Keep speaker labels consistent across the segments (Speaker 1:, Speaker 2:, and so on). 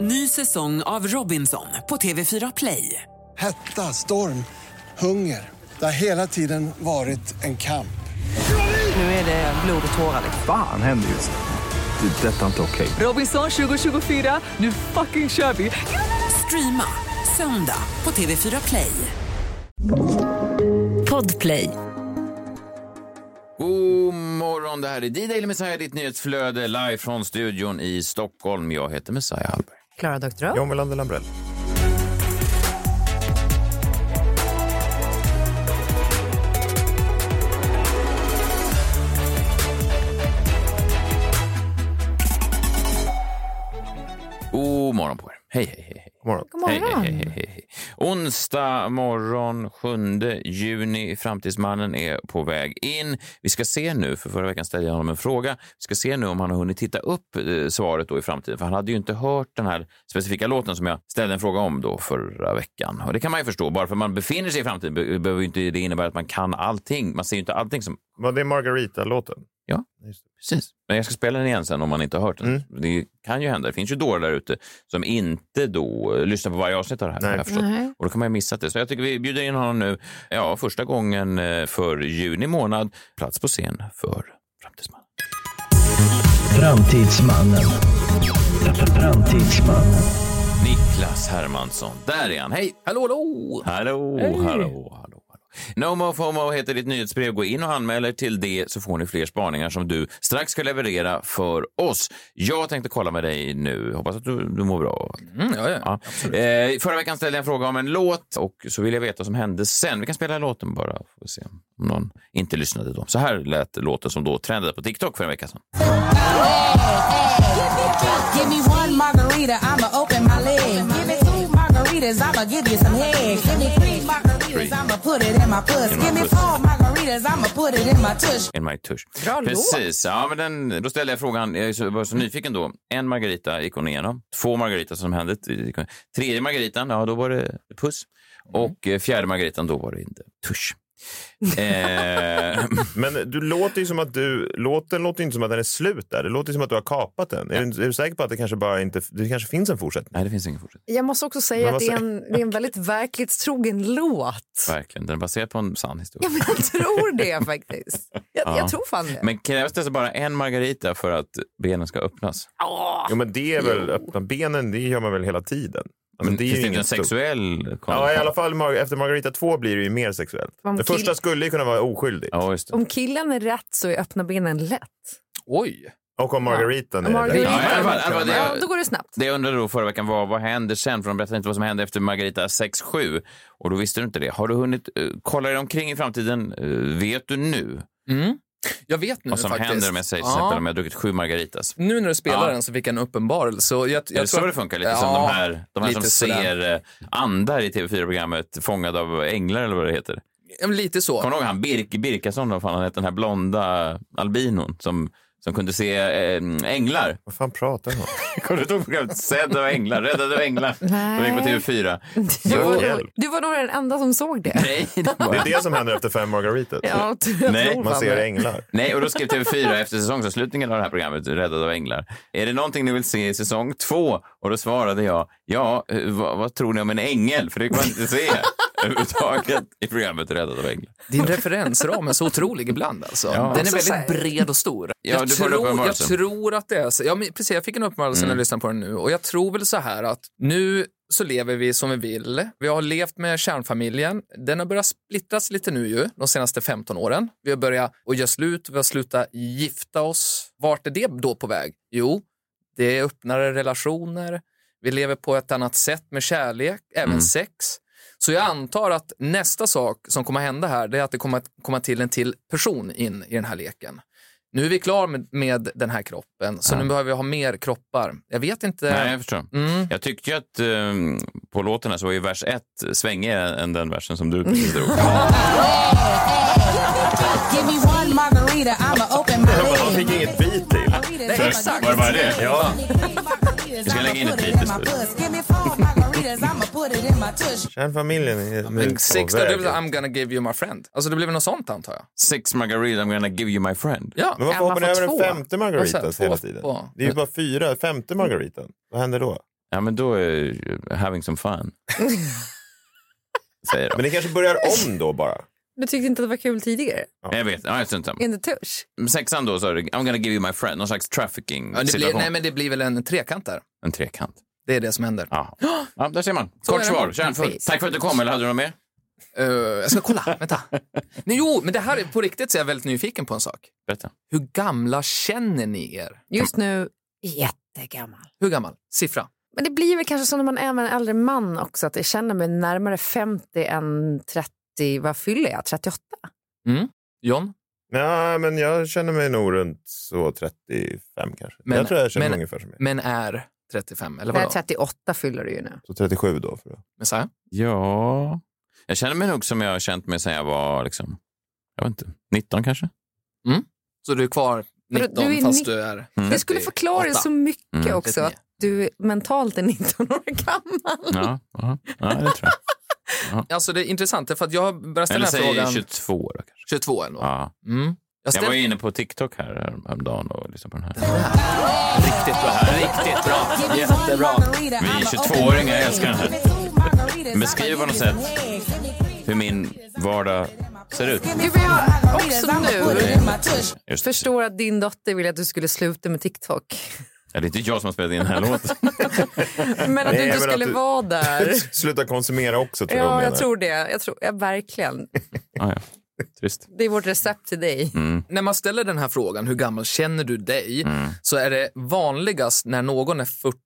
Speaker 1: Ny säsong av Robinson på TV4 Play.
Speaker 2: Hetta, storm, hunger. Det har hela tiden varit en kamp.
Speaker 1: Nu är det blod och tårar. liksom.
Speaker 3: Fan händer just nu. Det. är Detta är inte okej.
Speaker 1: Robinson 2024, nu fucking kör vi! Streama söndag på TV4 Play. Podplay.
Speaker 4: God morgon, det här är D-Daily Messiah, ditt nyhetsflöde live från studion i Stockholm. Jag heter Messiah Hallberg.
Speaker 5: Klara Doktorow.
Speaker 6: John Melander Lambrell.
Speaker 4: God morgon på er. Hej, hej, hej. hej.
Speaker 6: God morgon.
Speaker 5: God
Speaker 4: Hej,
Speaker 5: morgon.
Speaker 4: hej, hej, hej, hej. Onsdag morgon 7 juni. Framtidsmannen är på väg in. Vi ska se nu, för förra veckan ställde jag honom en fråga. Vi ska se nu om han har hunnit titta upp eh, svaret då i framtiden. För han hade ju inte hört den här specifika låten som jag ställde en fråga om då förra veckan. Och det kan man ju förstå. Bara för att man befinner sig i framtiden be- behöver ju inte det innebära att man kan allting. Man ser ju inte allting som
Speaker 6: Var det Margarita-låten?
Speaker 4: Ja.
Speaker 6: Just det.
Speaker 4: Precis. Men jag ska spela den igen sen om man inte har hört den.
Speaker 6: Mm.
Speaker 4: Det kan ju hända. Det finns ju dårar där ute som inte då eh, lyssnar på varje avsnitt av det här.
Speaker 6: Nej.
Speaker 4: har jag förstått.
Speaker 5: Nej.
Speaker 4: Och då kan man ju missa det. Så jag tycker vi bjuder in honom nu. Ja, första gången eh, för juni månad. Plats på scen för Framtidsmannen.
Speaker 7: Framtidsmannen. Framtidsmannen.
Speaker 4: Niklas Hermansson. Där är han. Hej! Hallå, hallå! Hallå, hallå, hallå. No Mo FOMO heter ditt nyhetsbrev. Gå in och anmäl er till det så får ni fler spaningar som du strax ska leverera för oss. Jag tänkte kolla med dig nu. Hoppas att du, du mår bra. Mm, ja, ja. Eh, förra veckan ställde jag en fråga om en låt och så vill jag veta vad som hände sen. Vi kan spela låten bara. Får vi se om någon inte lyssnade då. Så här lät låten som då trendade på TikTok för en vecka sedan.
Speaker 8: Give me one margarita, I'ma open my leg. Give me two margaritas, I'ma give you some head. Give me three margaritas, I'ma put it in my puss. Give me four margaritas, I'ma put it in my tush.
Speaker 4: In my tush.
Speaker 5: Bra låt.
Speaker 4: Precis. Ja, men den, då ställde jag frågan, jag är så- var så nyfiken då. En Margarita gick hon igenom. Två Margarita som hände. Tredje Margaritan, ja då var det puss. Och eh, fjärde Margaritan, då var det inte tusch. eh,
Speaker 6: Men du låter ju som att du... Låten låter inte som att den är slut där. Det låter ju som att du har kapat den. Är, du, är du säker på att det kanske bara inte... Det kanske finns en fortsättning?
Speaker 4: nej, det finns ingen fortsättning.
Speaker 5: Jag måste också säga
Speaker 6: Men
Speaker 5: att
Speaker 6: vad
Speaker 5: det är, en, det är en väldigt verklighetstrogen låt.
Speaker 4: Verkligen. Den är baserad på en sann historia.
Speaker 5: Ja, men jag tror det faktiskt. Jag,
Speaker 4: Ja.
Speaker 5: jag tror fan det.
Speaker 4: Men krävs det alltså bara en Margarita för att benen ska öppnas?
Speaker 6: Jo, men det är väl... Öppna benen, det gör man väl hela tiden? Ja,
Speaker 4: Men
Speaker 6: det är
Speaker 4: Mm. finns
Speaker 6: ju
Speaker 4: det inte en
Speaker 6: inget stort-
Speaker 4: sexuell
Speaker 6: Ja, i alla fall Mar- efter Margarita 2 blir det ju mer sexuellt.
Speaker 5: Om
Speaker 6: Den
Speaker 5: kill-
Speaker 6: första skulle ju kunna vara oskyldig.
Speaker 4: Ja, just det.
Speaker 5: Om killen är rätt så är öppna benen lätt.
Speaker 9: Oj!
Speaker 6: Och om Margaritan är
Speaker 5: Margarita.
Speaker 4: Ja, i alla fall,
Speaker 6: det.
Speaker 4: i alla fall, det-
Speaker 5: Ja, då går det snabbt.
Speaker 4: Det jag undrade då förra veckan var vad händer sen? För de berättade inte vad som hände efter Margarita 6-7. Och då visste du inte det. Har du hunnit eh, kolla dig omkring i framtiden? Eh, vet du nu
Speaker 9: Jag vet nu
Speaker 4: vad som
Speaker 9: faktiskt.
Speaker 4: händer om jag säger till
Speaker 9: Ja.
Speaker 4: exempel om jag har druckit sju Margaritas?
Speaker 9: Nu när du spelar
Speaker 4: Ja.
Speaker 9: den så fick jag en uppenbarelse. Så jag,
Speaker 4: Är det
Speaker 9: jag
Speaker 4: så
Speaker 9: tror
Speaker 4: det
Speaker 9: att-
Speaker 4: funkar? Lite
Speaker 9: Ja,
Speaker 4: som de här, de här som
Speaker 9: lite sådär.
Speaker 4: ser eh, andar i TV4-programmet Fångad av änglar eller vad det heter.
Speaker 9: Ja, men Lite så.
Speaker 4: Kommer du ihåg han Birk, Birkason, vad fan han hette, den här blonda albinon som, som kunde se eh, änglar?
Speaker 6: Vad fan pratar han om?
Speaker 4: Kommer du ihåg programmet Sedd av änglar, Räddad av änglar? De gick på TV4.
Speaker 5: Du
Speaker 6: Så
Speaker 5: var,
Speaker 6: jävla-
Speaker 5: nog, du var nog den enda som såg det.
Speaker 4: Nej, det var
Speaker 6: Det är det som händer efter fem Margaritas.
Speaker 5: Ja, jag
Speaker 4: Nej,
Speaker 5: tror
Speaker 6: Man
Speaker 5: fan
Speaker 6: ser
Speaker 5: det.
Speaker 6: änglar.
Speaker 4: Nej, och då skrev TV4 efter säsongsavslutningen av det här programmet, Räddad av änglar. Är det någonting ni vill se i säsong två? Och då svarade jag, ja, eh, vad, vad tror ni om en ängel? För det kan man inte se överhuvudtaget i programmet Räddad av änglar.
Speaker 9: Din referensram är så otrolig ibland. Alltså. Den är
Speaker 5: Alltså, så här-
Speaker 9: väldigt bred och stor.
Speaker 4: Ja,
Speaker 9: jag,
Speaker 4: du får en
Speaker 9: tror, jag
Speaker 4: uppenbarelse. Mm.
Speaker 9: tror att det är så. Ja, men precis, jag fick en uppenbarelse när jag lyssnade på den nu. Och jag tror väl så här att nu så lever vi som vi vill. Vi har levt med kärnfamiljen. Den har börjat splittras lite nu ju, de senaste 15 åren. Vi har börjat att göra slut, vi har slutat gifta oss. Vart är det då på väg? Jo, det är öppnare relationer. Vi lever på ett annat sätt med kärlek, även
Speaker 4: Mm.
Speaker 9: sex. Så jag antar att nästa sak som kommer hända här det är att det kommer att komma till en till person in i den här leken. Nu är vi klara med, med den här kroppen, så nu behöver vi ha mer kroppar. Jag vet inte.
Speaker 4: Nej, jag förstår.
Speaker 9: Mm.
Speaker 4: Jag tyckte ju att eh, på låten här så var ju vers ett svängigare än den versen som du precis drog.
Speaker 8: Give me one margarita, I'ma open my leg.
Speaker 6: Han fick inget beat till.
Speaker 8: Nej,
Speaker 9: exakt.
Speaker 4: Var det bara det?
Speaker 6: Ja.
Speaker 8: Vi
Speaker 4: ska lägga in ett litet stöd.
Speaker 8: Give me four margaritas, I'ma put it in my tush.
Speaker 6: Kärnfamiljen är nu på
Speaker 9: Sexta, det
Speaker 6: väg.
Speaker 9: blir I'm gonna give you my friend. Alltså det blir väl något sånt antar jag.
Speaker 4: Six margarita, I'm gonna give you my friend.
Speaker 9: Ja.
Speaker 6: Men varför
Speaker 5: Emma
Speaker 6: hoppar ni
Speaker 9: får
Speaker 6: över den
Speaker 9: två.
Speaker 6: femte
Speaker 9: Och sen
Speaker 6: margaritas
Speaker 9: två
Speaker 6: hela tiden?
Speaker 9: på. Mm.
Speaker 6: Det är ju bara fyra. Femte margaritan, vad händer då?
Speaker 4: Ja, men då är having some fun. Säger de.
Speaker 6: Men ni kanske börjar om då bara?
Speaker 5: Du tyckte inte att det var kul tidigare?
Speaker 4: Jag vet, ja, jag strunt samma.
Speaker 5: In the tush?
Speaker 4: Sexan då sa du, I'm gonna give you my friend, någon slags trafficking
Speaker 9: Ja, det blir,
Speaker 4: situation.
Speaker 9: nej, men det blir väl en trekant där.
Speaker 4: En trekant.
Speaker 9: Det är det som händer.
Speaker 4: Ja. ja, där ser man.
Speaker 9: Så
Speaker 4: Kort
Speaker 9: är det.
Speaker 4: svar, kärnfullt.
Speaker 5: Precis.
Speaker 4: Tack för att du kom, eller hade du något mer?
Speaker 9: Eh, jag ska kolla, vänta. Nej, jo, men det här är på riktigt så är jag väldigt nyfiken på en sak.
Speaker 4: Berätta.
Speaker 9: Hur gamla känner ni er?
Speaker 5: Just nu jättegammal.
Speaker 9: Hur gammal? Siffra.
Speaker 5: Men det blir väl kanske så när man är med en äldre man också att jag känner mig närmare 50 än 30, vad fyller jag? 38?
Speaker 9: Mm. John?
Speaker 6: Nej, men jag känner mig nog runt så 35 kanske.
Speaker 9: Men-
Speaker 6: jag tror jag känner
Speaker 9: men-
Speaker 6: mig ungefär som er.
Speaker 9: Men är 35, eller
Speaker 5: Nej,
Speaker 9: vadå?
Speaker 5: 38 fyller du ju nu.
Speaker 6: Så 37 då. För då.
Speaker 9: Messiah?
Speaker 4: Ja... Jag känner mig nog som jag har känt mig sedan jag var liksom, jag vet inte, 19 kanske?
Speaker 9: Så du är kvar
Speaker 5: Vadå,
Speaker 9: 19
Speaker 5: du är
Speaker 9: fast
Speaker 5: nitt-
Speaker 9: du är
Speaker 5: Det skulle
Speaker 9: 38.
Speaker 5: förklara så mycket
Speaker 4: Mm.
Speaker 5: också att du mentalt är 19 år gammal.
Speaker 4: Ja, ja, ja det tror jag.
Speaker 9: Alltså det är intressant, för att jag började
Speaker 4: Eller
Speaker 9: ställa
Speaker 4: säg
Speaker 9: den här frågan
Speaker 4: 22 då kanske.
Speaker 9: 22 ändå.
Speaker 4: Ja.
Speaker 9: Mm. Jag
Speaker 4: Jag var
Speaker 9: ställde
Speaker 4: ju inne på TikTok här häromdagen och lyssnade på den här.
Speaker 9: riktigt bra, riktigt bra.
Speaker 8: Jättebra.
Speaker 4: Vi är 22-åringar, jag älskar den här. Beskriv på något sätt hur min vardag ser ut.
Speaker 5: Gud, vad jag också nu
Speaker 4: Just det.
Speaker 5: förstår att din dotter ville att du skulle sluta med TikTok.
Speaker 4: Ja, det är inte jag som har spelat in den här låten.
Speaker 5: Men att
Speaker 6: Nej,
Speaker 5: du
Speaker 6: men
Speaker 5: inte
Speaker 6: att
Speaker 5: skulle
Speaker 6: du-
Speaker 5: vara där.
Speaker 6: Sluta konsumera också tror jag
Speaker 5: Ja,
Speaker 6: hon
Speaker 5: jag
Speaker 6: menar.
Speaker 5: tror det. Jag tror, ja, verkligen.
Speaker 4: Ah, ja. Trist.
Speaker 5: Det är vårt recept till dig.
Speaker 4: Mm.
Speaker 9: När man ställer den här frågan, hur gammal känner du dig? Så är det vanligast när någon är 40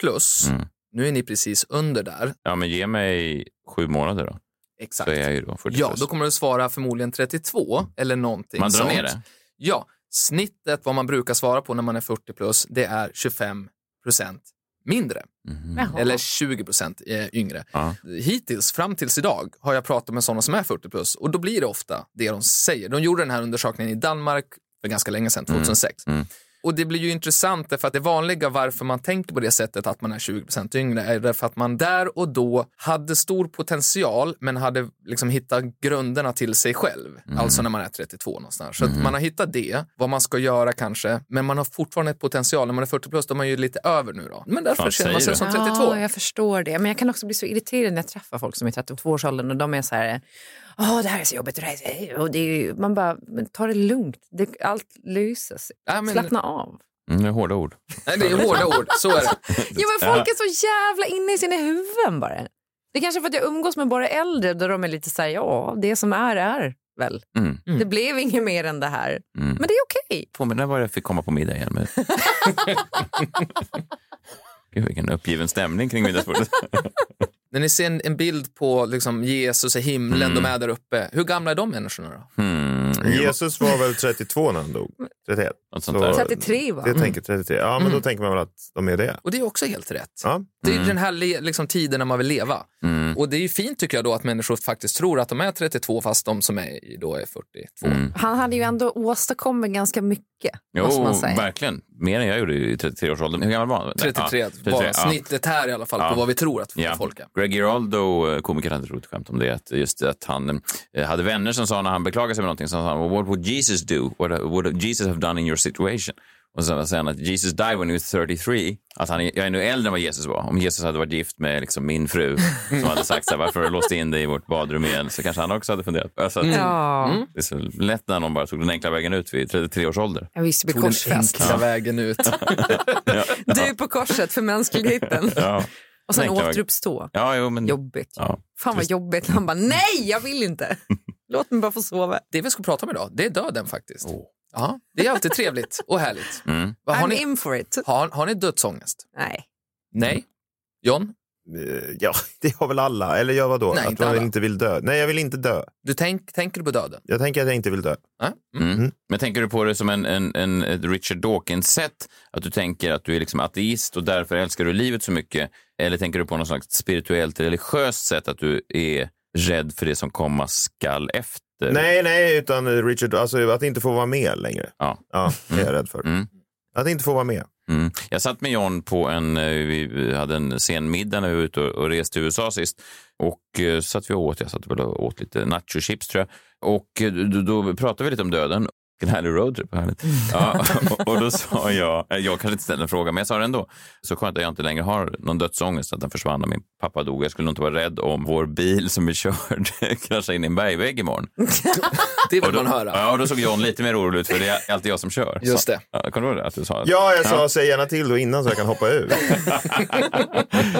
Speaker 9: plus.
Speaker 4: Mm.
Speaker 9: Nu är ni precis under där.
Speaker 4: Ja, men ge mig sju månader då,
Speaker 9: Exakt.
Speaker 4: så är jag ju då 40
Speaker 9: Ja,
Speaker 4: plus.
Speaker 9: då kommer du svara förmodligen 32 eller någonting
Speaker 4: Man drar
Speaker 9: sånt.
Speaker 4: ner det.
Speaker 9: Ja, snittet vad man brukar svara på när man är 40 plus, det är 25 procent mindre. Eller 20 procent eh, yngre.
Speaker 4: Mhm. Ja.
Speaker 9: Hittills, fram tills idag, har jag pratat med sådana som är 40 plus och då blir det ofta det de säger. De gjorde den här undersökningen i Danmark för ganska länge sedan, 2006.
Speaker 4: Mm.
Speaker 9: Och det blir ju intressant därför att det vanliga varför man tänker på det sättet att man är 20% yngre är därför att man där och då hade stor potential men hade liksom hittat grunderna till sig själv.
Speaker 4: Mm.
Speaker 9: Alltså när man är 32 någonstans. Så att man har hittat det, vad man ska göra kanske, men man har fortfarande ett potential. När man är 40 plus då är man ju lite över nu då. Men därför
Speaker 4: Fan,
Speaker 9: känner man sig
Speaker 4: säger
Speaker 9: som
Speaker 4: du?
Speaker 9: 32.
Speaker 5: Ja, jag förstår det. Men jag kan också bli så irriterad när jag träffar folk som är 32-årsåldern och de är så här, åh det här är så jobbigt och det här är så... Och det är ju, man bara, men ta det lugnt. Det, allt löser sig.
Speaker 9: Ja, men-
Speaker 5: Slappna av.
Speaker 4: Mm, det är hårda ord.
Speaker 9: Nej, det är hårda ord, så är det.
Speaker 5: Ja, men folk är så jävla inne i sina huvuden bara. Det är kanske för att jag umgås med bara äldre där de är lite så här, ja, det som är är väl.
Speaker 4: Mm.
Speaker 5: Det blev inget mer än det här.
Speaker 4: Mm.
Speaker 5: Men det är okej.
Speaker 4: Påminner vad jag fick komma på middag igen. Men... Gud, vilken uppgiven stämning kring middagsbordet.
Speaker 9: När ni ser en, en bild på liksom, Jesus i himlen, de är där uppe. Hur gamla är de människorna då?
Speaker 4: Mm.
Speaker 6: Jesus var väl 32 när han dog?
Speaker 9: Mm.
Speaker 6: 31?
Speaker 4: Något sånt där.
Speaker 5: 33 va?
Speaker 6: Jag tänker 33. Ja, men då tänker man väl att de är det.
Speaker 9: Och det är också helt rätt.
Speaker 6: Ja.
Speaker 9: Det är ju den här le- liksom, tiden när man vill leva. Och det är ju fint tycker jag då att människor faktiskt tror att de är 32 fast de som är i- då är 42.
Speaker 5: Han hade ju ändå åstadkommit ganska mycket. måste
Speaker 4: Jo,
Speaker 5: man säga.
Speaker 4: verkligen. Mer än jag gjorde i 33-årsåldern. Hur gammal var han?
Speaker 9: 33,
Speaker 4: Ja,
Speaker 9: bara
Speaker 4: 33, ja.
Speaker 9: snittet här i alla fall
Speaker 4: Ja.
Speaker 9: på vad vi tror att
Speaker 4: Ja.
Speaker 9: folk är.
Speaker 4: Greg Giraldo, eh, komikern, hade ett roligt skämt om det. Att just att han eh, hade vänner som sa när han beklagade sig över någonting, så han sa han, “What would Jesus do? What would Jesus have done in your situation?” Och sen säger han att Jesus died when he was 33. Att han, är- jag är nu äldre än vad Jesus var. Om Jesus hade varit gift med liksom min fru som hade sagt så här, “Varför har du låst in dig i vårt badrum igen?” så kanske han också hade funderat. Alltså, att
Speaker 5: Ja.
Speaker 4: Det är så lätt när någon bara tog den enkla vägen ut vid 33 års ålder.
Speaker 5: En Visby
Speaker 9: På den
Speaker 5: korsfest.
Speaker 9: enkla vägen ut.
Speaker 5: Du på korset för mänskligheten.
Speaker 4: Ja,
Speaker 5: Och sen
Speaker 4: Den enkla vägen.
Speaker 5: återuppstå.
Speaker 4: ja jo, men...
Speaker 5: Jobbigt.
Speaker 4: Ja.
Speaker 5: Fan vad jobbigt. Han bara, nej jag vill inte. Låt mig bara få sova.
Speaker 9: det vi ska prata om idag, det är döden faktiskt. Ja, det är alltid trevligt och härligt. Vad Har,
Speaker 5: I'm
Speaker 9: ni,
Speaker 5: in for it.
Speaker 9: har, har ni dödsångest?
Speaker 5: Nej.
Speaker 9: Nej. John,
Speaker 6: Eh, ja, det har väl alla. Eller jag vadå?
Speaker 9: Nej,
Speaker 6: att
Speaker 9: inte
Speaker 6: man
Speaker 9: alla.
Speaker 6: inte vill dö. Nej, jag vill inte dö.
Speaker 9: du tänk, tänker du på döden?
Speaker 6: Jag tänker att jag inte vill dö.
Speaker 9: Ja?
Speaker 4: Mm. Men tänker du på det som en, en, en ett Richard Dawkins-sätt? Att du tänker att du är liksom ateist och därför älskar du livet så mycket? Eller tänker du på något slags spirituellt religiöst sätt? Att du är rädd för det som komma skall efter?
Speaker 6: Nej, nej, utan Richard, alltså att inte få vara med längre.
Speaker 4: Ja.
Speaker 6: Ja, det är jag rädd för.
Speaker 4: Mm.
Speaker 6: Att inte få vara med.
Speaker 4: Mm. Jag satt med John på en, eh, vi vi hade en sen middag när vi var ute och, och reste till USA sist. Och eh, satt vi och åt, jag satt väl och åt lite nachochips tror jag. Och eh, då, då pratade vi lite om döden. Vilken härlig roadtrip, vad
Speaker 9: Mm.
Speaker 4: härligt. Ja, och- och då sa jag, eh, jag kanske inte ställde en fråga, men jag sa det ändå. Så skönt att jag inte längre har någon dödsångest, att den försvann när min pappa dog. Jag skulle nog inte vara rädd om vår bil som vi körde kraschade in i en bergvägg imorgon.
Speaker 9: Det vill
Speaker 4: Och då,
Speaker 9: man höra.
Speaker 4: Ja, och då såg John lite mer orolig ut, för det är alltid jag som kör.
Speaker 9: Just
Speaker 4: Så-
Speaker 9: det.
Speaker 4: Ja, kommer du ihåg det? Att du sa
Speaker 6: Ja, jag sa säg gärna till då innan så jag kan hoppa ur.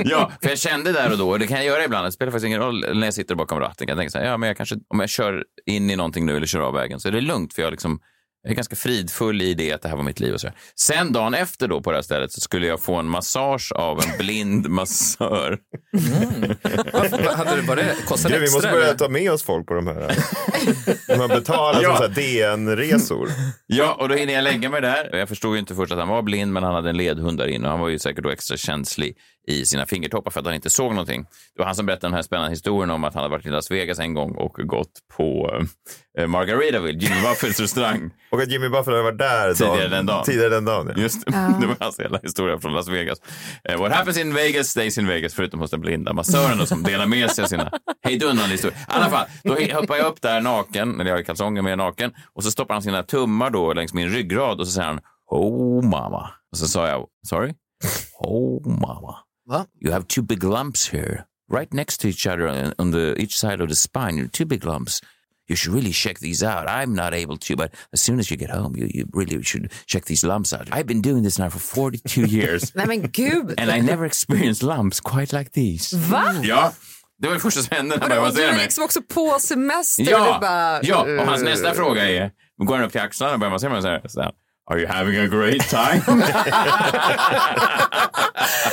Speaker 4: Ja, för jag kände där och då, och det kan jag göra ibland, det spelar faktiskt ingen roll när jag sitter bakom ratten. Jag tänker så här, ja, men jag kanske, om jag kör in i någonting nu eller kör av vägen så är det lugnt för jag, liksom, jag är ganska fridfull i det att det här var mitt liv och så där. Sen dagen efter då på det här stället så skulle jag få en massage av en blind massör.
Speaker 9: Vad Hade det, var det, kostade
Speaker 6: Gud,
Speaker 9: det
Speaker 6: vi
Speaker 9: extra?
Speaker 6: måste börja
Speaker 9: eller?
Speaker 6: ta med oss folk på de här. De här betalar
Speaker 4: Ja.
Speaker 6: som så här DN-resor.
Speaker 4: Ja, och då hinner jag lägga mig där. Jag förstod ju inte först att han var blind, men han hade en ledhund där inne och han var ju säkert då extra känslig i sina fingertoppar för att han inte såg någonting. Det var han som berättade den här spännande historien om att han hade varit i Las Vegas en gång och gått på eh, Margaritaville, Jimmy Buffets restaurang.
Speaker 6: Och att Jimmy Buffett hade varit där
Speaker 4: Tidigare den dagen.
Speaker 6: Tidigare den dagen ja.
Speaker 4: Just det, det var hans hela historia från Las Vegas. Eh, what happens in Vegas stays in Vegas, förutom hos den blinda massören då, som delar med sig av sina hejdundrande historier. I alla fall, då he- hoppar jag upp där naken, eller jag har kalsonger med naken, och så stoppar han sina tummar då längs min ryggrad och så säger han Oh mama. Och så sa jag Sorry? Oh mama.
Speaker 9: Va?
Speaker 4: You have two big lumps here, right next to each other on- on the each side of the spine. You're two big lumps. You should really check these out. I'm not able to, but as soon as you get home, you, you really should check these lumps out. I've been doing this now for 42 years,
Speaker 5: Nej men gud!
Speaker 4: and I never experienced lumps quite like these.
Speaker 5: Va?
Speaker 4: Ja, det var det första som hände när jag
Speaker 5: Och du
Speaker 4: passerade
Speaker 5: är
Speaker 4: mig.
Speaker 5: liksom också på semester och
Speaker 4: Ja,
Speaker 5: du bara...
Speaker 4: ja, och hans
Speaker 5: eh,
Speaker 4: nästa fråga är, går han upp till axlarna och börjar massera mig och säger så här, Are you having a great time?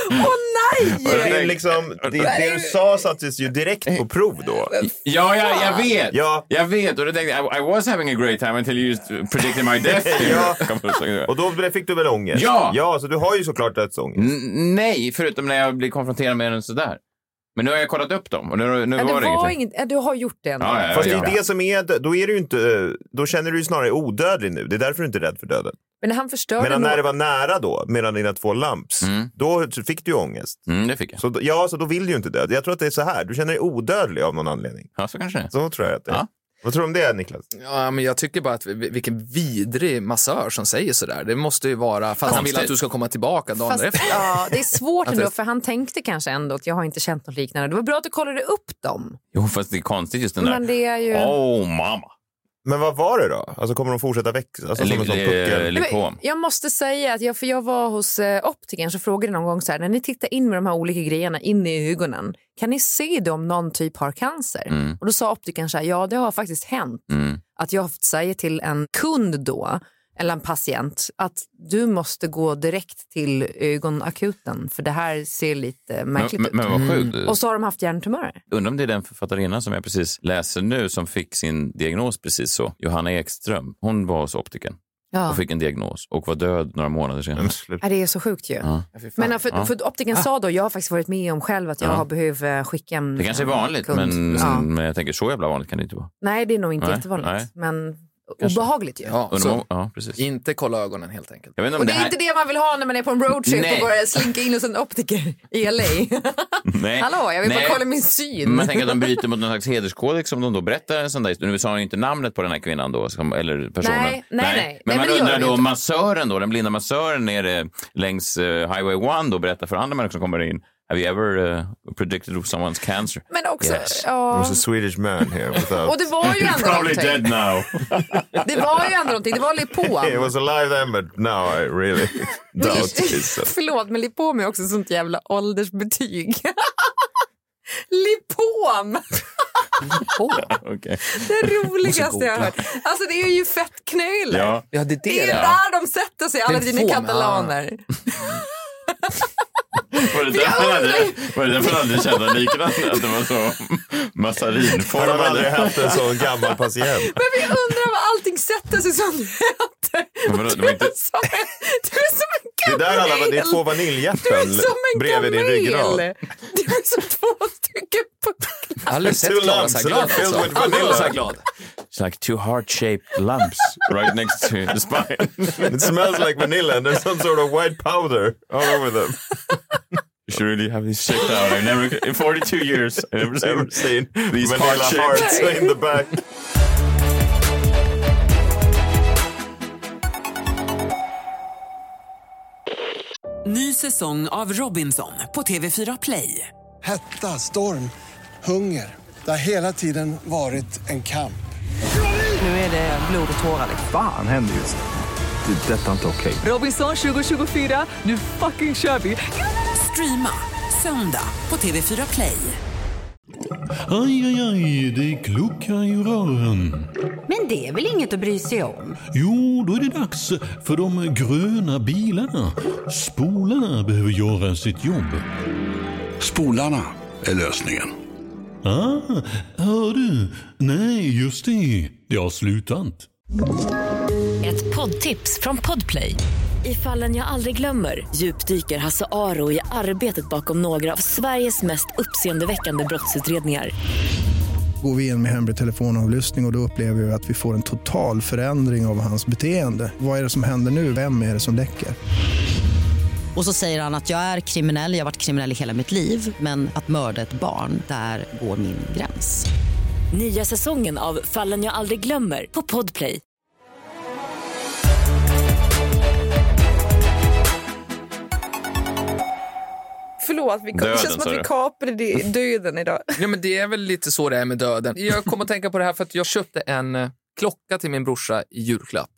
Speaker 5: Åh nej!
Speaker 6: Och det, är liksom, det, det du sa sattes ju direkt på prov då.
Speaker 4: ja, ja, jag vet.
Speaker 6: Ja.
Speaker 4: Jag vet. Och då tänkte jag, I, I was having a great time until you just predicted my death.
Speaker 6: Ja.
Speaker 4: Kommer du ihåg det?
Speaker 6: Och då blev- fick du väl ångest?
Speaker 4: Ja.
Speaker 6: Ja, så du har ju såklart dödsångest.
Speaker 4: N- Nej, förutom när jag blir konfronterad med den sådär. Men nu har jag kollat upp dem och nu, nu
Speaker 5: Ja,
Speaker 4: var det
Speaker 5: det var
Speaker 4: inget.
Speaker 5: inget, ja, du har gjort det ändå.
Speaker 4: Ja, ja, ja,
Speaker 6: Fast
Speaker 4: ja.
Speaker 6: det är det som är, dö- då är du ju inte, eh, då känner du ju snarare odödlig nu. Det är därför du inte är rädd för döden.
Speaker 5: Men han förstörde
Speaker 6: Medan
Speaker 5: nog...
Speaker 6: när det var nära då, medan dina två lamps, då fick du ju ångest.
Speaker 4: Mm, det fick jag.
Speaker 6: Så, då- ja, så då vill du ju inte dö. Jag tror att det är så här, du känner dig odödlig av någon anledning.
Speaker 4: Ja, så kanske det är.
Speaker 6: Så tror jag att det är.
Speaker 4: Ja.
Speaker 6: Vad tror du om det, Niklas?
Speaker 9: Ja, men jag tycker bara att vi- vilken vidrig massör som säger sådär. Det måste ju vara för att han vill att du ska komma tillbaka dagen
Speaker 5: Fast,
Speaker 9: efter.
Speaker 5: ja, det är svårt ändå, för han tänkte kanske ändå att jag har inte känt något liknande. Det var bra att du kollade upp dem.
Speaker 4: Jo, fast det är konstigt just den där.
Speaker 5: Men det är ju...
Speaker 4: Oh, mamma.
Speaker 6: Men vad var det då? Alltså kommer de fortsätta växa? Alltså, som en sån
Speaker 4: Li-
Speaker 6: puckel?
Speaker 4: li- lipom.
Speaker 5: Men Jag måste säga att jag, för jag var hos eh, optikern så frågade någon gång så här, när ni tittar in med de här olika grejerna inne i ögonen, kan ni se det om någon typ har cancer?
Speaker 4: Mm.
Speaker 5: Och då sa optikern så här, ja det har faktiskt hänt att jag säger till en kund då, eller en patient, att du måste gå direkt till ögonakuten för det här ser lite märkligt
Speaker 4: Men, men
Speaker 5: ut.
Speaker 4: vad
Speaker 6: Mm.
Speaker 4: sjukt.
Speaker 5: Och så har de haft hjärntumörer.
Speaker 4: Undrar om det är den författarinna som jag precis läser nu som fick sin diagnos precis så. Johanna Ekström. Hon var hos optiken
Speaker 5: Ja.
Speaker 4: och fick en diagnos och var död några månader senare.
Speaker 6: Men slut.
Speaker 5: Ja, det är så sjukt ju. Ah. Men för,
Speaker 4: Ja.
Speaker 5: för optiken sa då, jag har faktiskt varit med om själv att jag
Speaker 4: Ja.
Speaker 5: har behövt eh, skicka en
Speaker 4: Det kanske är
Speaker 5: en
Speaker 4: vanligt,
Speaker 5: kund.
Speaker 4: men, Mm,
Speaker 5: Ja.
Speaker 4: men jag tänker så jävla vanligt kan det inte vara.
Speaker 5: Nej, det är nog inte
Speaker 4: Nej,
Speaker 5: jättevanligt.
Speaker 4: nej.
Speaker 5: Men
Speaker 4: Kanske.
Speaker 5: obehagligt ju.
Speaker 9: Ja,
Speaker 4: Undrar om,
Speaker 9: så
Speaker 4: ja, precis.
Speaker 9: inte kolla ögonen helt enkelt.
Speaker 4: Jag vet inte om
Speaker 5: Och det
Speaker 4: det
Speaker 5: är
Speaker 4: här...
Speaker 5: inte det man vill ha när man är på en roadtrip
Speaker 4: Nej.
Speaker 5: och bara slinka in hos en optiker i LA.
Speaker 4: Nej.
Speaker 5: Hallå, jag vill
Speaker 4: Nej.
Speaker 5: bara kolla min syn.
Speaker 4: Man tänker att de bryter mot någon slags hederskodex om de då berättar en sån där historia. Nu sa han ju inte namnet på den här kvinnan då, som, eller personen.
Speaker 5: Nej, nej, nej.
Speaker 4: Men
Speaker 5: Nej,
Speaker 4: man
Speaker 5: men det gör
Speaker 4: undrar
Speaker 5: de
Speaker 4: då
Speaker 5: inte.
Speaker 4: om massören då, den blinda massören nere längs eh, Highway 1 då berättar för andra människor som kommer in. Have you ever eh, predicted of someone's cancer?
Speaker 5: Men också,
Speaker 4: Yes.
Speaker 6: There
Speaker 5: ja.
Speaker 6: was a Swedish man here. With a,
Speaker 5: Och det var ju ändå någonting.
Speaker 4: now.
Speaker 5: Det var ju ändå någonting. Det var
Speaker 6: It
Speaker 5: Lipoam.
Speaker 6: was alive then, but now I really doubt this.
Speaker 5: Förlåt, men Lipoam är också ett sånt jävla åldersbetyg. Lipom!
Speaker 4: Okej.
Speaker 5: Det roligaste jag har hört. Alltså det är ju fettknölar.
Speaker 4: Ja.
Speaker 9: Ja, det är
Speaker 5: Det är
Speaker 9: det.
Speaker 5: ju
Speaker 9: ja.
Speaker 5: där de sätter sig, alla dina
Speaker 9: Lipom,
Speaker 5: katalaner.
Speaker 4: Var det därför han aldrig- var det därför han aldrig kände liknande? Att det var så
Speaker 6: Han har aldrig
Speaker 4: massarinformade?
Speaker 6: haft en sån gammal patient.
Speaker 5: Men vi undrar vad allting sätter sig som det heter.
Speaker 4: Men vadå, det var inte-
Speaker 5: Du är som en- Du är som en
Speaker 6: Det är
Speaker 5: kamel.
Speaker 6: där alla, det är två
Speaker 5: Du är
Speaker 6: vaniljhjärtan
Speaker 5: som en
Speaker 6: bredvid din
Speaker 5: kamel.
Speaker 6: ryggrad.
Speaker 5: Du är som två stycken pucklar.
Speaker 9: Jag har aldrig
Speaker 6: Two
Speaker 9: sett Klara så
Speaker 6: lumps,
Speaker 9: här glad.
Speaker 6: they're filled
Speaker 9: Alltså.
Speaker 6: with
Speaker 9: Aldrig varit så här
Speaker 6: vanilla.
Speaker 9: glad.
Speaker 4: It's like two heart-shaped lumps right next to the spine.
Speaker 6: It smells like vanilla and there's some sort of white powder all over them.
Speaker 4: You should really have this checked out. I've never, in 42 years, I've never seen,
Speaker 6: Never seen
Speaker 4: these
Speaker 6: vanilla
Speaker 4: heart-shaped.
Speaker 6: hearts in the back.
Speaker 1: säsong av Robinson på TV4 Play.
Speaker 2: Hetta, storm, hunger. Det har hela tiden varit en kamp.
Speaker 1: Nu är det blod och tårar.
Speaker 10: liksom.
Speaker 3: Fan händer just det. Det är detta inte okej.
Speaker 1: Robinson 2024, nu fucking kör vi! Streama söndag på TV4 Play.
Speaker 7: Aj, aj, aj, det kluckar i rören.
Speaker 10: Men det är väl inget att bry sig om?
Speaker 7: Jo, då är det dags för de gröna bilarna. Spolarna behöver göra sitt jobb.
Speaker 11: Spolarna är lösningen.
Speaker 7: Ah, hör du? Nej, just det. Det har slutat.
Speaker 12: Ett poddtips från Podplay. I fallen jag aldrig glömmer djupdyker Hasse Aro i arbetet bakom några av Sveriges mest uppseendeväckande brottsutredningar.
Speaker 13: Går vi in med hemlig telefonavlyssning och, och då upplever vi att vi får en total förändring av hans beteende. Vad är det som händer nu? Vem är det som läcker?
Speaker 14: Och så säger han att jag är kriminell, jag har varit kriminell i hela mitt liv men att mörda ett barn, där går min gräns.
Speaker 12: Nya säsongen av Fallen jag aldrig glömmer på Podplay.
Speaker 15: Förlåt, vi kom, det
Speaker 9: Döden,
Speaker 15: känns som
Speaker 9: sa
Speaker 15: att vi
Speaker 9: du.
Speaker 15: kapade det- döden idag.
Speaker 9: Ja, men det är väl lite så det är med döden. Jag kom att tänka på det här för att jag köpte en eh, klocka till min brorsa i julklapp.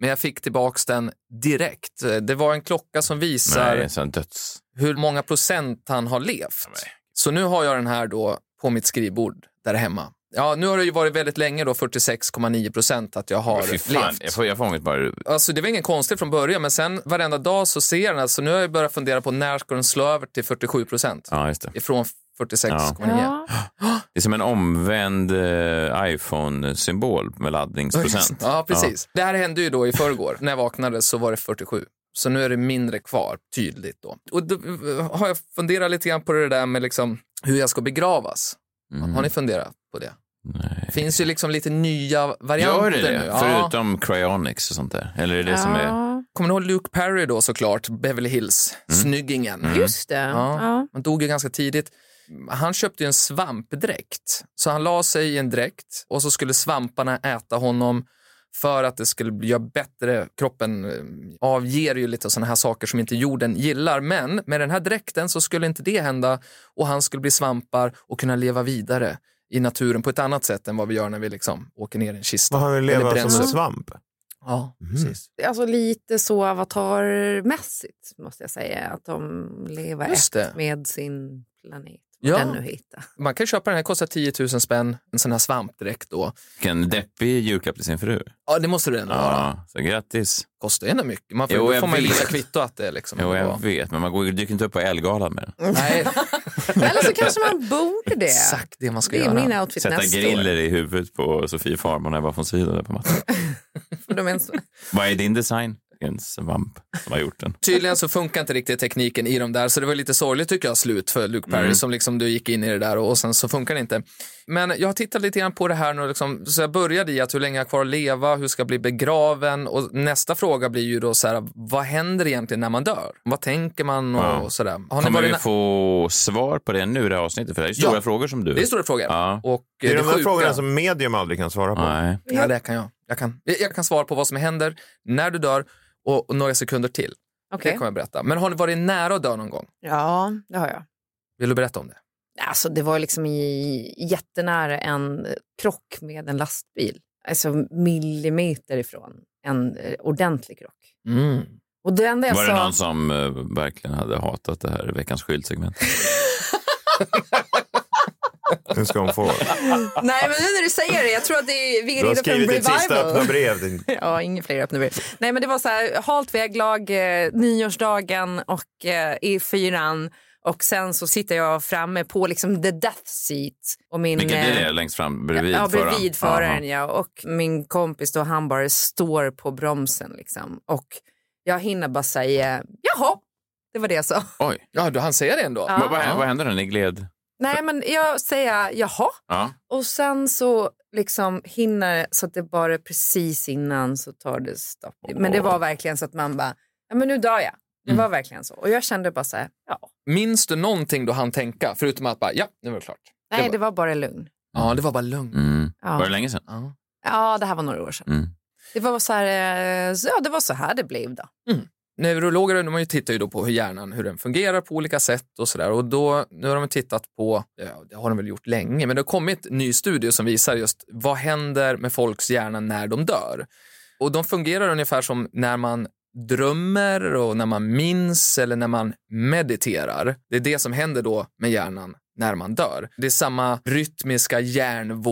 Speaker 9: Men jag fick tillbaks den direkt. Eh, Det var en klocka som visar
Speaker 4: Nej, sån döds...
Speaker 9: hur många procent han har levt. Så nu har jag den här då på mitt skrivbord där hemma. Ja, nu har det ju varit väldigt länge då, 46,9 procent att jag har
Speaker 4: Fy fan,
Speaker 9: levt.
Speaker 4: jag får, jag får ångest bara.
Speaker 9: Alltså det var ingen konstigt från början, men sen varenda dag så ser jag den. Alltså, nu har jag börjat fundera på när ska den slå över till 47 procent?
Speaker 4: Ja, just det.
Speaker 9: Ifrån 46,9.
Speaker 4: Ja. Det är som en omvänd eh, iPhone-symbol med laddningsprocent.
Speaker 9: Ja, precis. Det här hände ju då i förrgår. När jag vaknade så var det 47. Så nu är det mindre kvar, tydligt då. Och då eh, har jag funderat lite grann på det där med liksom hur jag ska begravas.
Speaker 4: Mm.
Speaker 9: Har ni funderat på det? Det finns ju liksom lite nya varianter
Speaker 4: Gör det det?
Speaker 9: nu.
Speaker 4: Förutom cryonics och sånt där? Eller är det det som är...
Speaker 9: Kommer ni ihåg Luke Perry då såklart, Beverly Hills, snyggingen.
Speaker 4: Mm. Just
Speaker 5: det.
Speaker 9: Ja.
Speaker 5: Ja.
Speaker 9: Han dog ju ganska tidigt. Han köpte ju en svampdräkt, så han la sig i en dräkt och så skulle svamparna äta honom för att det skulle göra bättre. Kroppen eh, avger ju lite sådana här saker som inte jorden gillar, men med den här dräkten så skulle inte det hända och han skulle bli svampar och kunna leva vidare i naturen på ett annat säsätt än vad vi gör när vi liksom åker ner i en kista.
Speaker 6: Vad har vi att leva som
Speaker 9: Eller bränns
Speaker 6: en Mm.
Speaker 9: upp.
Speaker 6: svamp?
Speaker 9: Ja, precis.
Speaker 5: Alltså lite så avatarmässigt måste jag säga. Att de lever
Speaker 9: Just det.
Speaker 5: ett med sin planet.
Speaker 9: Ja.
Speaker 5: Ja. Den nu hittar.
Speaker 9: Man kan köpa den här, kostar 10 000 spänn, en sån här svampdräkt då.
Speaker 4: Vilken deppig julklapp till sin fru.
Speaker 9: Ja, det måste du ändå vara.
Speaker 4: Ja, så grattis.
Speaker 9: Kostar ändå mycket. Man får,
Speaker 4: Jo,
Speaker 9: då
Speaker 4: jag
Speaker 9: får man ju
Speaker 4: vet.
Speaker 9: visa kvitto att det är liksom.
Speaker 4: Jo,
Speaker 9: Ja.
Speaker 4: jag vet, men man går, dyker inte upp på Ellegalan med den.
Speaker 9: Nej,
Speaker 5: Eller så kanske man borde det.
Speaker 9: exakt det man ska
Speaker 5: Det är
Speaker 9: göra.
Speaker 5: min outfit
Speaker 4: Sätta
Speaker 5: nästa
Speaker 4: griller i huvudet på Sofie Farman när jag var från sidan där på mattan.
Speaker 5: år. De är en så-
Speaker 4: Vad är din design? Det är En svamp som har gjort den.
Speaker 9: Tydligen så funkar inte riktigt tekniken i de där, så det var lite sorgligt tycker jag slut för Luke Perry
Speaker 4: Mm.
Speaker 9: som liksom du gick in i det där och, och sen så funkar det inte. Men jag har tittat lite grann på det här nu, liksom, så jag började i att hur länge jag har kvar att leva, hur ska jag bli begraven och nästa fråga blir ju då så här, vad händer egentligen när man dör? Vad tänker man och,
Speaker 4: Ja.
Speaker 9: och sådär? Har ni
Speaker 4: Kommer
Speaker 9: varit
Speaker 4: vi
Speaker 9: nä-
Speaker 4: få svar på det nu i det här avsnittet? För det här är stora
Speaker 9: Ja.
Speaker 4: frågor som du...
Speaker 9: Det är stora frågor.
Speaker 4: Ja.
Speaker 9: Och
Speaker 6: Det är
Speaker 9: eh,
Speaker 6: de där
Speaker 9: sjuka-
Speaker 6: frågorna som medium aldrig kan svara på.
Speaker 4: Nej.
Speaker 9: Ja, det kan jag. Jag kan, jag kan svara på vad som händer när du dör och, och några sekunder till. Det
Speaker 5: Okej.
Speaker 9: kommer jag berätta. Men har ni varit nära att dö någon gång?
Speaker 5: Ja, det har jag.
Speaker 9: Vill du berätta om det?
Speaker 5: Alltså, det var liksom i, jättenära en krock med en lastbil. Alltså millimeter ifrån en eh, ordentlig krock.
Speaker 9: Mm.
Speaker 5: Och det enda jag
Speaker 4: Var
Speaker 5: sa...
Speaker 4: det någon som eh, verkligen hade hatat det här veckans skyltsegment?
Speaker 6: Nu ska hon få.
Speaker 5: Nej, men nu när du säger det, jag tror att det är, vi
Speaker 6: Du har
Speaker 5: ringer på en
Speaker 6: skrivit ditt sista öppna
Speaker 5: revival.
Speaker 6: brev. din-
Speaker 5: Ja, inga fler öppna brev. Nej, men det var så här, halt väglag, eh, nyårsdagen och eh, E4 och sen så sitter jag framme på liksom the death seat. Och min,
Speaker 4: Vilket är
Speaker 5: eh,
Speaker 4: det? Längst fram? Bredvid
Speaker 5: ja,
Speaker 4: föraren?
Speaker 5: bredvid
Speaker 4: Aha.
Speaker 5: föraren ja. Och min kompis då, han bara står på bromsen liksom. Och jag hinner bara säga, jaha, det var det jag sa.
Speaker 4: Oj.
Speaker 9: Ja, du han säger det ändå.
Speaker 5: Ja.
Speaker 4: Vad, vad, vad hände när ni gled?
Speaker 5: Nej, men jag säger jaha.
Speaker 4: Ja.
Speaker 5: Och sen så liksom hinner det så att det bara precis innan så tar det stopp. Men det var verkligen så att man bara, ja men nu dör jag. Det var verkligen så. Och jag kände bara så här, ja.
Speaker 9: Minns du någonting då han tänka? Förutom att bara, ja, nu var det klart.
Speaker 5: Nej, det var bara lugn.
Speaker 9: Ja, det var bara lugn.
Speaker 4: Mm.
Speaker 5: Ja.
Speaker 4: Var det länge sedan?
Speaker 9: Ja.
Speaker 5: Ja, det här var några år sedan.
Speaker 4: Mm.
Speaker 5: Det var så här, eh, så, ja, det var så här det blev då.
Speaker 9: Mm. neurologer de har ju tittar ju då på hur hjärnan hur den fungerar på olika sätt och sådär. Och då, nu har de tittat på, ja, det har de väl gjort länge, men det har kommit en ny studie som visar just vad händer med folks hjärna när de dör. Och de fungerar ungefär som när man drömmer och när man minns eller när man mediterar. Det är det som händer då med hjärnan när man dör. Det är samma rytmiska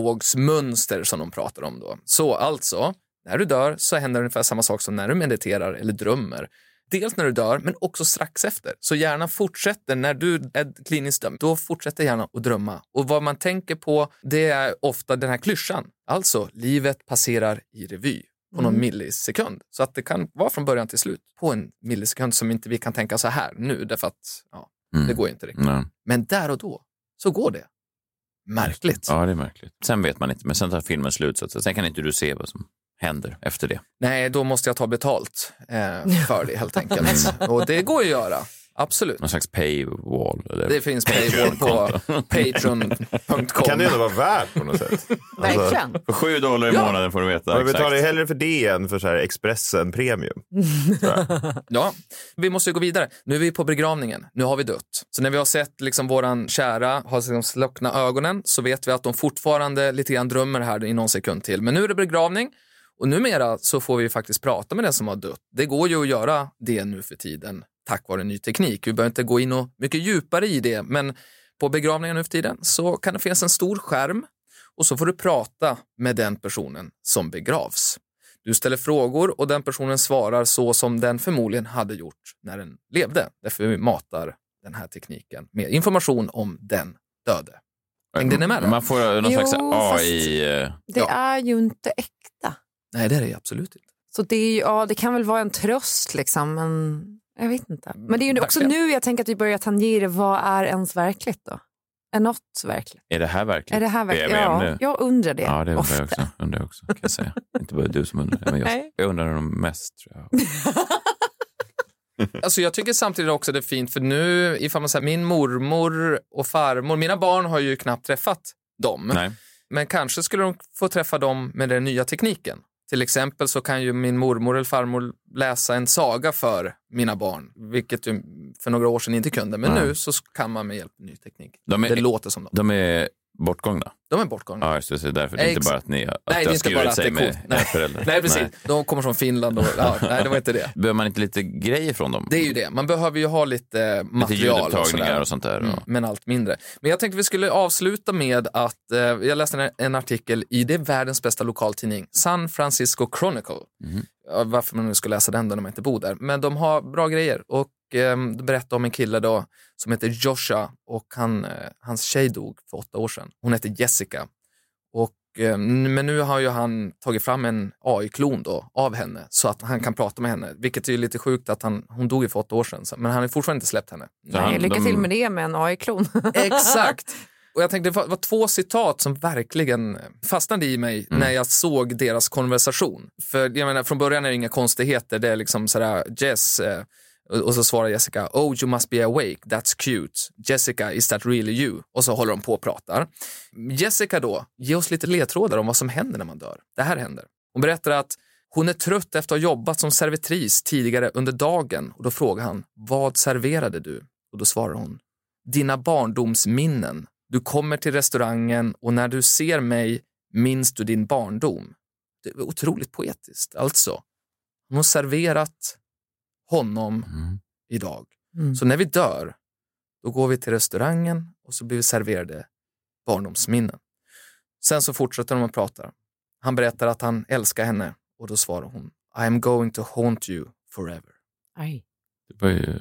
Speaker 9: hjärnvågsmönster som de pratar om då. Så alltså, när du dör så händer ungefär samma sak som när du mediterar eller drömmer. Dels när du dör, men också strax efter. Så hjärnan fortsätter, när du är kliniskt dömd, då fortsätter hjärnan att drömma. Och vad man tänker på, det är ofta den här klyschan. Alltså, livet passerar i revy på någon
Speaker 16: Mm.
Speaker 9: millisekund. Så att det kan vara från början till slut på en millisekund som inte vi kan tänka så här nu, därför att ja, det går ju inte riktigt.
Speaker 4: Nej.
Speaker 9: Men där och då så går det. Märkligt.
Speaker 4: Ja, det är märkligt. Sen vet man inte, men sen tar filmen slut. Så att, sen kan inte du se vad som händer efter det.
Speaker 9: Nej, då måste jag ta betalt eh, för det helt enkelt. och det går ju att göra. Absolut.
Speaker 4: Någon slags paywall. Eller
Speaker 9: Det finns paywall på patreon.com.
Speaker 6: Kan det ändå vara värt på något sätt?
Speaker 9: Verkligen.
Speaker 4: Alltså, För sju dollar i
Speaker 6: Ja.
Speaker 4: månaden får du veta.
Speaker 6: Och jag betalar ju
Speaker 4: exakt.
Speaker 6: hellre för det än för så här Expressen Premium.
Speaker 9: Ja, vi måste ju gå vidare. Nu är vi på begravningen. Nu har vi dött. Så när vi har sett liksom våran kära har liksom slockna ögonen så vet vi att de fortfarande lite grann drömmer här i någon sekund till. Men nu är det begravning och numera så får vi faktiskt prata med den som har dött. Det går ju att göra det nu för tiden tack vare ny teknik. Vi behöver inte gå in och mycket djupare i det, men på begravningen nu för tiden så kan det finnas en stor skärm och så får du prata med den personen som begravs. Du ställer frågor och den personen svarar så som den förmodligen hade gjort när den levde. Därför vi matar den här tekniken med information om den döde. Hängde ni med? där?
Speaker 4: Mm. Man får någon slags
Speaker 5: Jo, fast-
Speaker 4: AI... eh,
Speaker 5: Det är ju inte äkta.
Speaker 9: Nej, det är det absolut inte.
Speaker 5: Så det, är ju, ja, det kan väl vara en tröst, liksom, men jag vet inte. Men det är ju också
Speaker 9: Verkligen.
Speaker 5: nu jag tänker att vi börjar tangera vad är ens verkligt då? Är något verkligt?
Speaker 4: Är det här verkligt?
Speaker 5: Är det här
Speaker 4: är
Speaker 5: verkligt?
Speaker 4: vi
Speaker 5: Ja,
Speaker 4: ämne?
Speaker 5: jag undrar det.
Speaker 4: Ja, det undrar
Speaker 5: ofta.
Speaker 4: jag också. Undrar jag också kan jag säga. inte bara du som undrar, men jag,
Speaker 5: Nej.
Speaker 4: jag undrar dem mest. Tror jag.
Speaker 9: Alltså jag tycker samtidigt också det är fint för nu, ifall man säger min mormor och farmor, mina barn har ju knappt träffat dem.
Speaker 4: Nej.
Speaker 9: Men kanske skulle de få träffa dem med den nya tekniken. Till exempel så kan ju min mormor eller farmor läsa en saga för mina barn, vilket ju för några år sedan inte kunde. Men
Speaker 4: Nej.
Speaker 9: nu så kan man med hjälp av ny teknik.
Speaker 4: De är,
Speaker 9: det låter som dem.
Speaker 4: De är bortgångna?
Speaker 9: De är bortgångna.
Speaker 4: Ja, just det. Så det är därför det är inte
Speaker 9: Ex-
Speaker 4: bara att ni att det
Speaker 9: Nej, det är
Speaker 4: har
Speaker 9: inte bara
Speaker 4: skurit
Speaker 9: att det
Speaker 4: sig
Speaker 9: är
Speaker 4: med
Speaker 9: coolt.
Speaker 4: era föräldrar.
Speaker 9: Nej, precis. De kommer från Finland och... Ja, nej, det var inte det.
Speaker 4: Behöver man inte lite grejer från dem?
Speaker 9: Det är ju det. Man behöver ju ha lite
Speaker 4: Lite
Speaker 9: material och
Speaker 4: ljudupptagningar
Speaker 9: sådär.
Speaker 4: och sånt där.
Speaker 9: Mm,
Speaker 4: och-
Speaker 9: men allt mindre. Men jag tänkte vi skulle avsluta med att eh, jag läste en, en artikel i det är världens bästa lokaltidning, San Francisco Chronicle. Ja, Varför man nu ska läsa den då när man inte bor där. Men de har bra grejer och eh, berättar om en kille då som heter Joshua och han, eh, hans tjej dog för åtta år sedan. Hon heter Jessica. Och, eh, men nu har ju han tagit fram en AI-klon då av henne så att han kan prata med henne. Vilket är ju lite sjukt att han, hon dog ju för åtta år sedan. så- Men han har ju fortfarande inte släppt henne.
Speaker 5: Nej, lycka
Speaker 4: Mm.
Speaker 5: till med det med en AI-klon.
Speaker 9: Exakt. Och jag tänkte, det var, var två citat som verkligen fastnade i mig när jag såg deras konversation. För jag menar, från början är det inga konstigheter. Det är liksom sådär, Jess, eh, och och så svarar Jessica, oh you must be awake, that's cute. Jessica, is that really you? Och så håller de på och pratar. Jessica då, ge oss lite ledtrådar om vad som händer när man dör. Det här händer. Hon berättar att hon är trött efter att ha jobbat som servitris tidigare under dagen och då frågar han, vad serverade du? Och då svarar hon, dina barndomsminnen. Du kommer till restaurangen och när du ser mig minns du din barndom. Det är otroligt poetiskt. Alltså, hon har serverat honom idag.
Speaker 5: Mm.
Speaker 9: Så när vi dör, då går vi till restaurangen och så blir vi serverade barndomsminnen. Sen så fortsätter de att prata. Han berättar att han älskar henne och då svarar hon I am going to haunt you forever.
Speaker 5: Aj.
Speaker 4: Det var ju...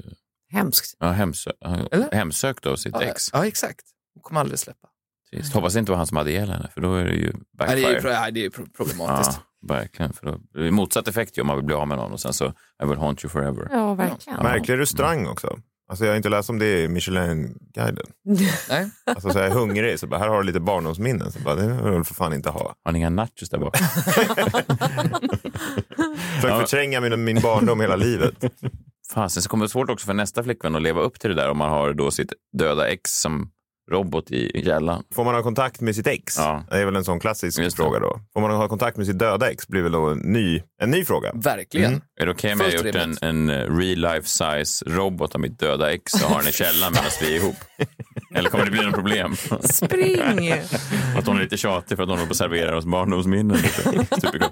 Speaker 5: Hemskt.
Speaker 4: Ja, hemsö... han-
Speaker 9: Eller?
Speaker 4: Hemsökt av sitt ex.
Speaker 9: Ja, exakt. Hon kommer aldrig släppa.
Speaker 4: Trist. Hoppas det inte var han som hade ihjäl henne, för då är det ju
Speaker 9: Nej, det är ju
Speaker 4: backfire.
Speaker 9: pro- nej, det är ju pro- problematiskt.
Speaker 4: Ja, verkligen. För då det är motsatt effekt ju om man vill bli av med någon och sen så I will haunt you forever.
Speaker 5: Ja, verkligen.
Speaker 6: Märklig restaurang också. Alltså jag har inte läst om det i Michelin-guiden.
Speaker 9: Nej.
Speaker 6: Alltså så jag är hungrig, så bara, här har du lite barndomsminnen. Så bara, det vill du för fan inte ha.
Speaker 4: Har ni inga nachos där bak?
Speaker 6: Försökt förtränga min, min barndom hela livet.
Speaker 4: Fasen, så kommer det svårt också för nästa flickvän att leva upp till det där om man har då sitt döda ex som robot i gällan.
Speaker 6: Får man ha kontakt med sitt ex? Det är väl en sån klassisk fråga då. Får man ha kontakt med sitt döda ex? blir väl då en ny, en ny fråga.
Speaker 9: Verkligen.
Speaker 6: Mm.
Speaker 4: Är det okej om jag har gjort en, en real life size robot av mitt döda ex och har den i källaren medan vi är ihop? Eller kommer det bli något problem?
Speaker 5: Spring!
Speaker 4: att hon är lite tjatig för att hon håller på och serverar oss barndomsminnen. Superkul.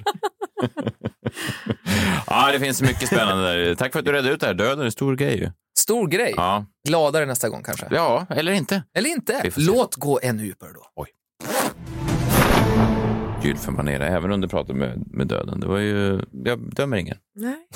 Speaker 4: ja, det finns mycket spännande där. Tack för att du redde ut det här. Döden är en stor grej ju.
Speaker 9: Stor grej.
Speaker 4: Ja.
Speaker 9: Gladare nästa gång kanske.
Speaker 4: Ja, eller inte.
Speaker 9: Eller inte.
Speaker 4: Vi får se.
Speaker 9: Låt gå ännu djupare då.
Speaker 4: Gylfenpanera, även om du pratar med, med döden. Det var ju, jag dömer ingen.
Speaker 5: Nej.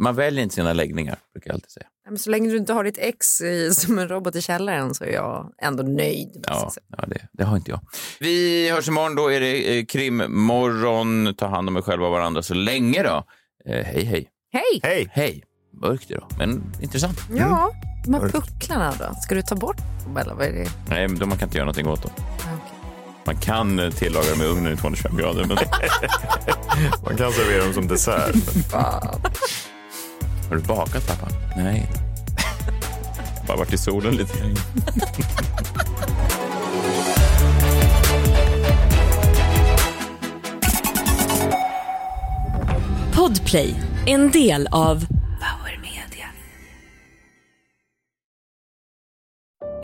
Speaker 4: Man väljer inte sina läggningar, brukar jag alltid säga.
Speaker 5: Nej, Men så länge du inte har ditt ex i, som en robot i källaren så är jag ändå nöjd.
Speaker 4: Ja, ja det, det har inte jag. Vi hörs imorgon. Då är det eh, krimmorgon. Ta hand om er själva och varandra så länge då. Eh, hej, hej.
Speaker 5: Hej!
Speaker 6: Hej!
Speaker 4: Hej. Mörkt idag, men intressant.
Speaker 9: Mm.
Speaker 5: Ja, de här pucklarna då? Ska du ta bort dem eller vad är det?
Speaker 4: Nej, men då man kan inte göra någonting åt dem. Man kan eh, tillaga dem i ugnen i 225 grader. Men...
Speaker 6: man kan servera dem som dessert.
Speaker 4: Har du bakat, pappa? Nej. Bara varit i solen lite.
Speaker 12: Podplay, en del av